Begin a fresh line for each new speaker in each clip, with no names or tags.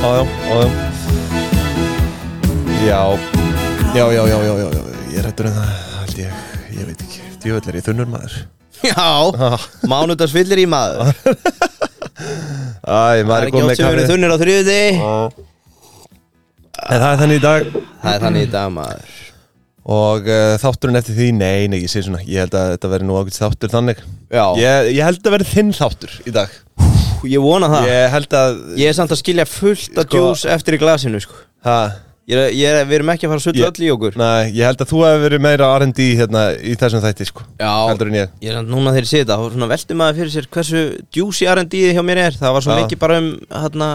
já, já, já Já, já, já, já, já, já Ég er hættur en það, held ég Ég veit ekki, djöfell er ég þunnur maður
Já, mánudags fyllir í maður
Æ,
Það
maður
er
er
ekki
komið
oft
með
sem við erum
kaffi
þunnir á þriði
En það er þannig í dag
Það er þannig í dag maður
Og uh, þátturinn eftir því, nei, nei, ég sé svona Ég held að þetta verði nú ákveðs þáttur þannig
Já,
ég, ég held að verði þinn þáttur í dag
ég vona það
Ég held að
Ég er samt að skilja fullt af
Sko-
djús eftir í glasinu sko.
ha,
ég, er- ég, er- Við erum ekki að fara að sulla
Ég-
öll í okkur
nei, Ég held að þú hefur verið meira R&D hérna, í þessum þætti sko.
Já,
Heldur en ég
ég er samt núna þegar ég sé þetta þá svona velti maður fyrir sér hversu djúsi R&D hjá mér er Það var svo
Já.
mikið bara um hana,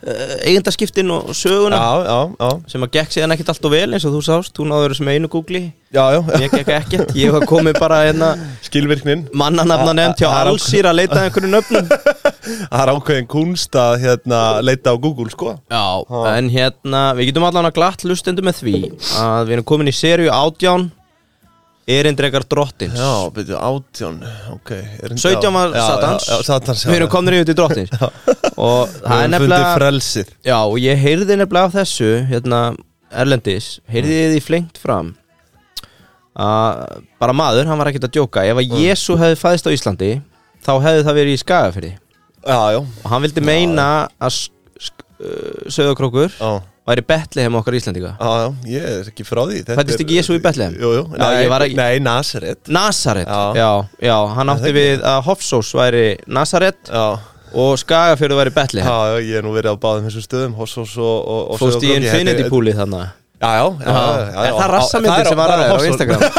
uh, eigendaskiptin og söguna
Já, já, já,
sem að gekk síðan ekkert allt og vel eins og þú sást Þú náður þessum einu googli
já, já.
Mér gekk ekkert, ég var komið bara hérna
Skilvirknin
mannanafna nefnd hjá
Það er
allsýr að leita að einhverju nöfnum
Það er ákveðin kunst að hérna, leita á Google sko.
Já, en hérna, við getum allan að glatt lustendu með því að við erum komin í serju átján erindrekar drottins
Já, byrju, átján okay. er-
17 var
já,
Satans.
já, já, Satans já.
Við erum komin yfir til drottins og
Við
það er
höfum fundið
nefnilega
frelsið
Já, og ég heyrði nefnilega af þessu hérna, Erlendis, heyrði
Mm.
ég því flengt fram að bara maður, hann var ekkert að djóka ef
Mm.
að Jésu hefði fæðist á Íslandi þá hefði það verið í Skagafyrði
Já, já,
og hann vildi meina að Söðokrókur
já,
væri betliheim okkar Íslandika
já, já, ég er ekki frá því Þetta
Fæddist
er-
ekki Jesú í Bethlehem?
Jú, jú,
Já,
nei,
ég var ekki-
nei Nasaret
Nasaret,
Já.
já. já, hann
það
átti
ekki?
við að Hofsós væri Nasaret
Já,
og Skagafjörðu væri Bethlehem
já, já, ég er nú verið á báðum þessum stöðum Hossós og, og, og
Fóst í
Sauðárkróki. Þetta er-
Infinity Pooli þannig
Já, já, já, já, já, já
Er það
á- það
rassamyndin
er á-
sem var
það er
aðeins á
Hofsós.
Instagram?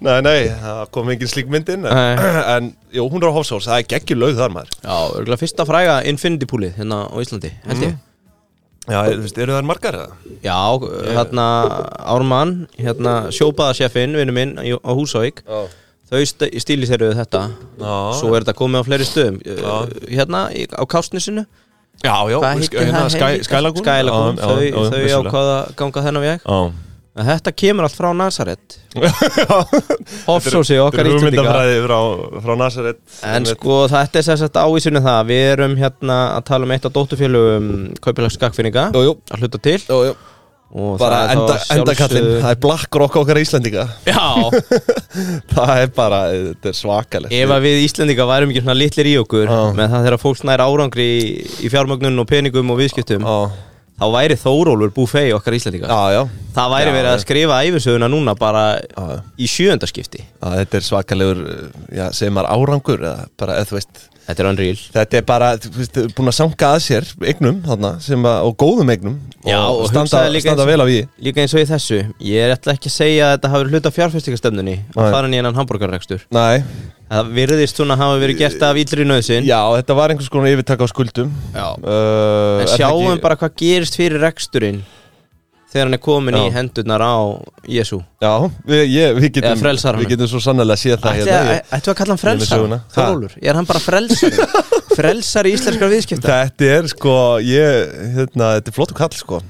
Nei, nei, það kom engin slík mynd inn En,
Nei.
en jú, hún er á Hofsós, það er geggjur lög þar maður
Já, örgulega fyrsta fræga Infinity Pooli hérna á Íslandi, held
Mm.
ég
Já, þú veist, eru þær margar eða?
Já, hérna Ármann, hérna sjópaðasjefinn, vinnu minn í- á Húsavík
Já
Þau st- stíli sér við þetta Svo er þetta komið á fleiri stöðum já. Hérna í- á Kásnisinu
Já, já, hérna Skælagún
Skælagún, þau, þau ákvaða ganga þennan veg En Þetta kemur allt frá Nasaret Hofsósi okkar íslendinga
Hugmyndafræði frá, frá Nasaret
En sko þetta er sér sett ávísinu það Við erum hérna að tala um eitt af dóttufélugum Kaupilags skakfinninga
Jú, sko, jú,
Að hluta til
jú, jú
og
Bara
það er þá
enda,
að
enda kallinn,
sjálfsögðu-
það er black rock okkar Íslendinga
Já,
Það er bara, þetta er svakalegt
ef að við Íslendinga værum ekki svona litlir í okkur
Já.
með það þegar fólk nær árangri í, í fjármögnun og peningum og viðskiptum
Já,
þá væri Þórólfur búfei okkar Íslendinga
já, já
Það væri
Já,
verið að
já.
skrifa æfisöguna núna bara
Já, já.
í sjöndaskipti
Já, Þetta er svakalegur, já, segir maður árangur eða bara, eða þú veist
Þetta er unreal
Þetta er bara, þú veist, þau eru búin að sanga að sér eignum þarna, sem að, og góðum eignum
Já, og
standa,
hugsaðu líka
standa
eins-
vel af í
Líka eins og í þessu, ég ætla ekki að segja að þetta hafi verið hluta fjárfestingastemnunni
Nei.
að fara inn í hennan hambúrgarrekstur.
Nei,
Það virðist svona hafa verið gert af illri nöðsin.
já, þetta var einhvers konar yfirtak á skuldum
Já.
uh,
En
er það
sjáum
ekki-
bara hvað gerist fyrir reksturinn þegar hann er komin
Já.
í hendurnar á Jésu.
Já, við, ég, við
Eða
getum,
frelsar hann.
við getum svo sannlega séð það
Ættu
hérna ég,
að kalla hann
Ég er með
frelsar?
söguna.
Þórólur, er hann bara frelsar? frelsar í íslenskar viðskipta?
Þetta er sko, ég, hérna, þetta er flottu kall sko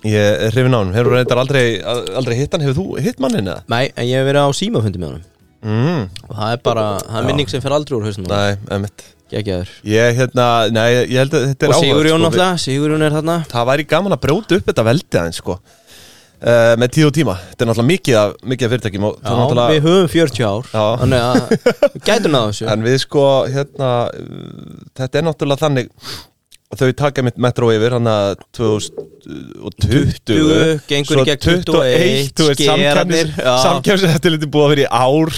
Ég er hrifin á hann, hefur reyndar aldrei, aldrei hitt hann, hefur þú hitt mannin eða?
Nei, en ég hef verið á símafundi með honum
Mm,
og það er bara, það er minning sem fer aldrei úr hausnum.
nei, emitt
Gekkjaður.
Ég, hérna, nei, ég held að þetta er
Og Sigurjón
sko, við-
náttúrulega, Sigurjón er þarna.
Það væri gaman að brjóta upp þetta veldið aðeins sko uh, Með tíð og tíma, þetta er náttúrulega mikið af, mikið af fyrirtækjum og
Já,
það er náttúrulega
við höfum 40 ár
Já.
Þannig að við gætum náðu þessu
En við sko, hérna, uh, þetta er náttúrulega þannig að þau taka mitt metro yfir hann að 2020
20, gengur í gegn
21, þú veist,
skerarnir,
samkjæmnis
já.
samkjæmniseftirliti búið að vera í ár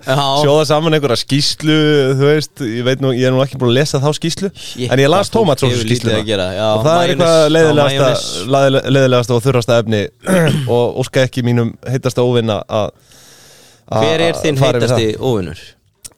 Já,
sjóða saman einhverja skýslu þú veist, ég veit nú, ég er nú ekki búin að lesa þá skýslu
Shit,
en ég
hvað
las
fólk
tómatsósu
hefur lítið
skýsluna
að gera, já,
og það er
majónes,
eitthvað
já,
leiðilegasta laðile- leiðilegasta og þurrasta efni og óska ekki mínum heitasta óvinna að að-
hver er þinn
að fara yfir það.
heitasti óvinnur?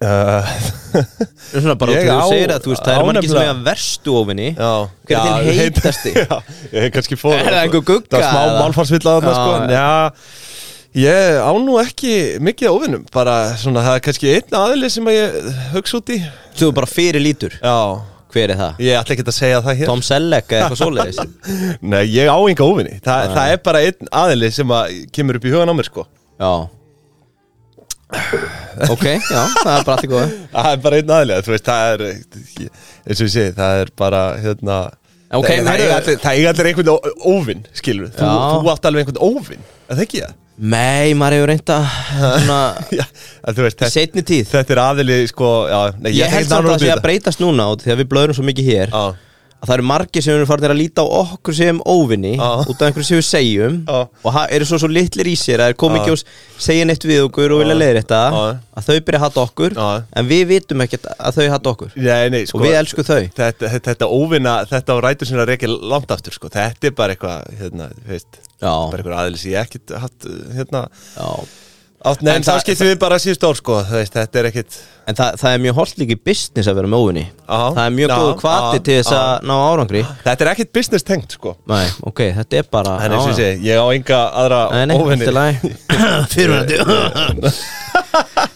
Uh,
Það er Svona bara,
Ég
þú
á-
segir að þú veist, það
á
er mann ekki sem
nefnilega-
er verstu óvinni
Já,
Hver er
Já,
þinn
heit-
heitasti?
Já, ég hef kannski fór
Er það einhver gugga,
Það var smá
eða?
málfarsvilla þarna
Já,
sko
já.
Já, ég á nú ekki mikið á ofinum Bara svona, það er kannski einn aðili sem að ég hugsa út í
Þú er bara fyrir lítur,
Já,
hver er það?
ég ætla ekki að segja það hér
Tom Selleck eða eitthvað svoleiðis
Nei, ég á enga ofinni Þa, Það er bara einn aðili sem að kemur upp í hugan á mér sko
Já Ok, já, það er bara allt í góðu
Það er bara einn aðlega, þú veist, það er eins og ég segi, það er bara hérna, það,
Ok,
það,
heyrðu.
eiga allir, það eiga allir einhvern ó- óvin, skilur við, þú,
Já.
þú átt alveg einhvern óvin, er það ekki það?
Nei, maður hefur reynda svona,
Já, að þú veist,
í
þetta,
setni tíð
þetta er aðili, sko, já, nei,
Ég, held samt að það sé að breytast núna út, því að við blöðum svo mikið hér
Já,
að það eru margir sem eru farinir að líta á okkur sem óvinni
Já.
út af einhverju sem við segjum
Já.
og ha- eru svo, svo litlir í sér að þeir kom ekki
Já.
og s- segja neitt við okkur og vilja leiðir þetta
Já.
að þau byrja að hata okkur
Já.
en við vitum ekkert að þau hata okkur
nei, nei, sko
og við elskum þau
Þetta, þetta, þetta óvinna, þetta á rætur sinna reykja langt aftur, sko, þetta er bara eitthvað, hérna, þú veist, bara
Já,
eitthvað aðili sem ég ekkit hatt, hérna,
já
átt, nei,
En
en þá
það-
skiptum við bara síðust ár, sko, þú veist, þetta er ekkit,
En það, það er mjög holdt líka í business að vera með óvinni
Já.
Það er mjög
Já,
góð kvati
já,
til þess
já.
að ná árangri
þetta er ekkit business tengt, sko
Nei, ok, þetta er bara
En eins og ég
já, já.
segi, ég á enga aðra
Nei, nei,
óvinni
allt í lagi. Fyrrverandi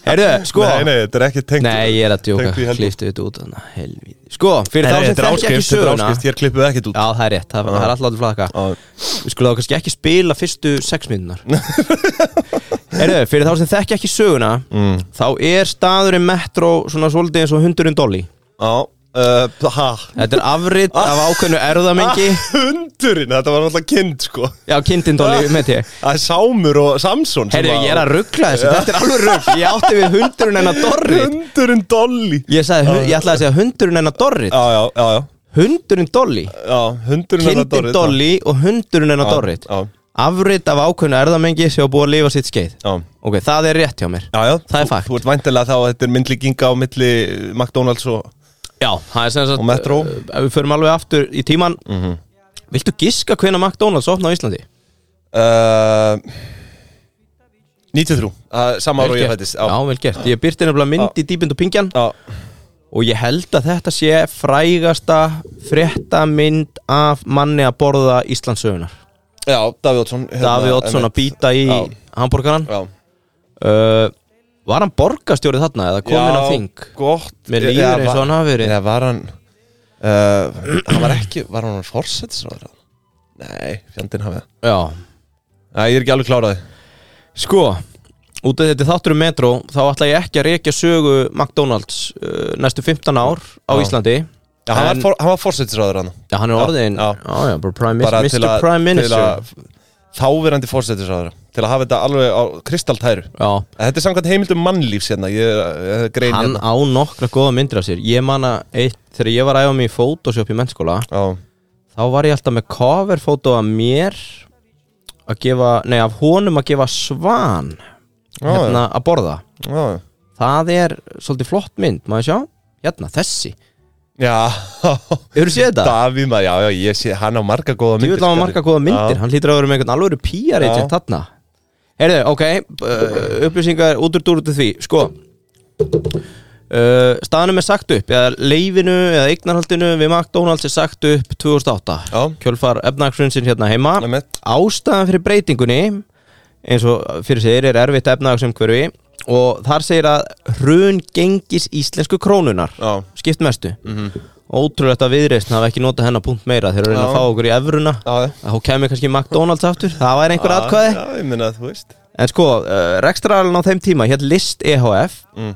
Herðu, sko
Nei, nei, þetta er ekki tengt
Nei, ég er að djóka,
tengt í helgi.
kliftu þetta út þarna, helvíti. Sko, fyrir
Nei,
þá
nei,
sem
þetta er
þekki ekki
áskrift, þetta er
söguna
áskrift, hér klippuðu ekkert út
Já, það er rétt, það, það er alltaf allir flaka
Já.
Við skulum þá kannski ekki spila fyrstu sex minnunar Herðu, fyrir þá sem þekki ekki söguna
Mm.
Þá er staðurinn metro svona svolítið eins og hundurinn dolli
Já, uh, ha
Þetta er afrit af
Ah.
ákveðnu erðamengi
Hundurinn, þetta var náttúrulega kind, sko
Já, kindinn dolli, með ég
Það er Sámur og Samson sem
Herðu,
var-
ég er að ruggla þessu, þetta er alveg rugg Ég átti við hundurinn hennar Dorrit
Hundurinn Dolly
Ég, sagði, hu- ég ætlaði að segja hundurinn hennar Dorrit
Já, já, já, já,
Hundurinn dolli
já Hundurinn hennar
Kindin dolli og hundurinn hennar
Já,
Dorrit
Já,
Afrit af ákveðnu erðamengi sem hafa búið að lifa sitt skeið
já
Ok, það er rétt hjá mér
Já, já,
Það er
Þú-
fakt.
Þú ert væntilega þá að þetta er myndlíkinga á milli eh, McDonalds og
Já, það er sem sagt
Og Metro. Mhm.
uh, Ef við förum alveg aftur í tíman Viltu giska hvena McDonalds opna á Íslandi?
uh, 93, uh, sama ára og ég
gert.
fættist
Já, vel gert Ég byrti nefnilega mynd í dýbind og pingjan
já,
Og ég held að þetta sé frægasta frétta mynd af manni að borða Íslandsögunar
já Davíð Oddsson hérna,
Davíð Oddsson að býta í
Já.
hambúrgaran
Já,
uh, Var hann borgarstjórið þarna eða kominn á
Já,
þing?
gott
Mér líður
Eða
eins og
var-
hann hafi verið.
eða var hann uh, Hann var ekki, var hann fórsetisráður? Nei, fjandinn hafið það
Já
Nei, ég er ekki alveg kláraði
Sko, út af þetta þáttur um metro þá ætla ég ekki að reykja sögu McDonalds uh, næstu 15 ár á
Já.
Íslandi
Já, hann, var
En-
for, hann var fórsetisráður hann
Já, hann er
Já,
orðin
já.
já, bara prime Mr. Mr. Prime
til
Minister
að Þáverandi fórsetisráður Til að hafa þetta alveg á kristaltæru
Já,
Þetta er samkvæmt heimildum mannlífs hérna Ég, ég, ég grein
hann
hérna
á nokkra góða myndir af sér Ég manna eitt, þegar ég var að æfa mig í Photoshop í mennskóla
Já,
þá var ég alltaf með coverfótó af mér að gefa, nei af honum að gefa svan
Já,
hérna að borða
já, já
það er svolítið flott mynd, maður sjá hérna, þessi,
Já,
hefur séð þetta?
Davíð maður, já, já, ég sé, hann á marga góða
Ég
myndir
vil hafa
sko.
marga góða myndir,
Já.
hann hlýtur að vera með einhvern alvöru PR agent þarna Heyrðu, ok, uh, upplýsingar út úr dúr út af því, sko uh, staðanum er sagt upp eða leifinu eða eignarhaldinu við McDonalds er sagt upp 2008
Já.
kjölfar efnagshrunsin hérna heima
Einmitt.
ástæðan fyrir breytingunni eins og fyrir segir er erfitt efnagsumhverfi og þar segir að hrun gengis íslensku krónunar
Já,
skipt mestu ótrúlegt að viðreist hafa ekki notað hennar punkt meira þeir eru að reyna að
Mhm. Já.
fá okkur í evruna
Já, já.
þá kemur kannski McDonalds aftur það væri einhver atkvæði
Já, ég minna að þú veist
en sko, uh, rekstraralinn á þeim tíma hér list EHF
Mm.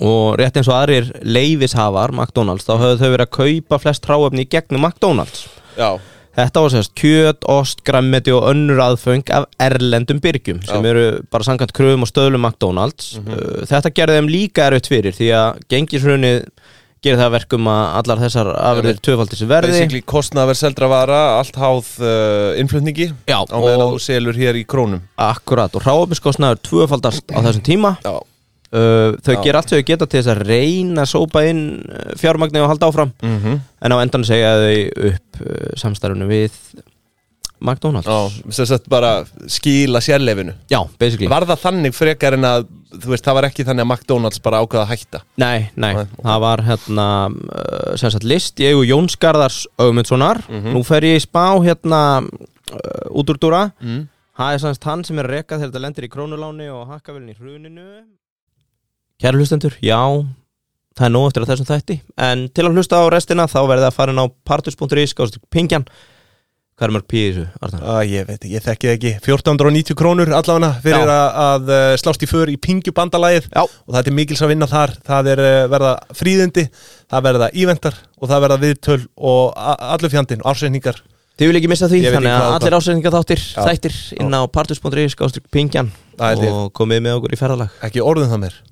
og rétt eins og aðrir leifishafar McDonalds þá höfðu þau verið að kaupa flest hráefni í gegnum McDonalds
Já,
Þetta var sérst kjöt, ost, grammeti og önnur aðföng af erlendum byrgjum sem
Já. Mhm.
eru bara samkvæmt kröfum og stöðlum McDonalds. Uh, Þetta gerði þeim líka erfitt fyrir því að gengishrunið gerir það að verkum að allar þessar afurðir tvöfaldi sem verði.
basically kostnaðar seldra vara Allt háð uh, innflutningi
Já,
Á meðan að
og-
þú selur hér í krónum
Akkurat og hráöfniskostnaður tvöfaldast á þessum tíma.
Já,
Uh, þau
Já.
gera allt sem þau geta til þess að reyna að sópa inn uh, fjármagnið og halda áfram en á endan segja þau upp uh, samstarfinu við McDonalds.
já sem sagt bara skila sérleifinu
Já, basically.
Var það þannig frekar en að Þú veist, það var ekki þannig að McDonalds bara ákvaða að hætta
Nei, nei,
Nei, ok.
það var hérna uh, sem sagt list, ég og Jóns Garðars Ögmundssonar,
Mhm.
nú fer ég í spá hérna uh, út úr dúra
mm.
það er sem sagt hann sem er rekað þegar þetta lendir í krónuláni og hakkavelin í hruninu Kæru hlustendur, já það er nóg eftir að þessum þætti en til að hlusta á restina þá verðið að fara inn á partus.is, gáðast pingjan Hvað er mörg pí í þessu, Arnar?
Ah, ég veit ekki, ég þekki það ekki 1490 krónur allavega fyrir
Já.
að, að eh, slást í för í pingjubandalagið
Já.
og það er mikils að vinna þar það er eh, verða fríðindi, það verða íventar og það verða viðtöl og a- allur fjandinn, ársreiningar
Þið vil ekki missa því,
Ég veit ekki
þannig að
hvað
allir ásendinga þáttir,
Já.
þættir inn á partus.ri skástrík pingjan
Það er
og komið með okkur í ferðalag
ekki orðum það mér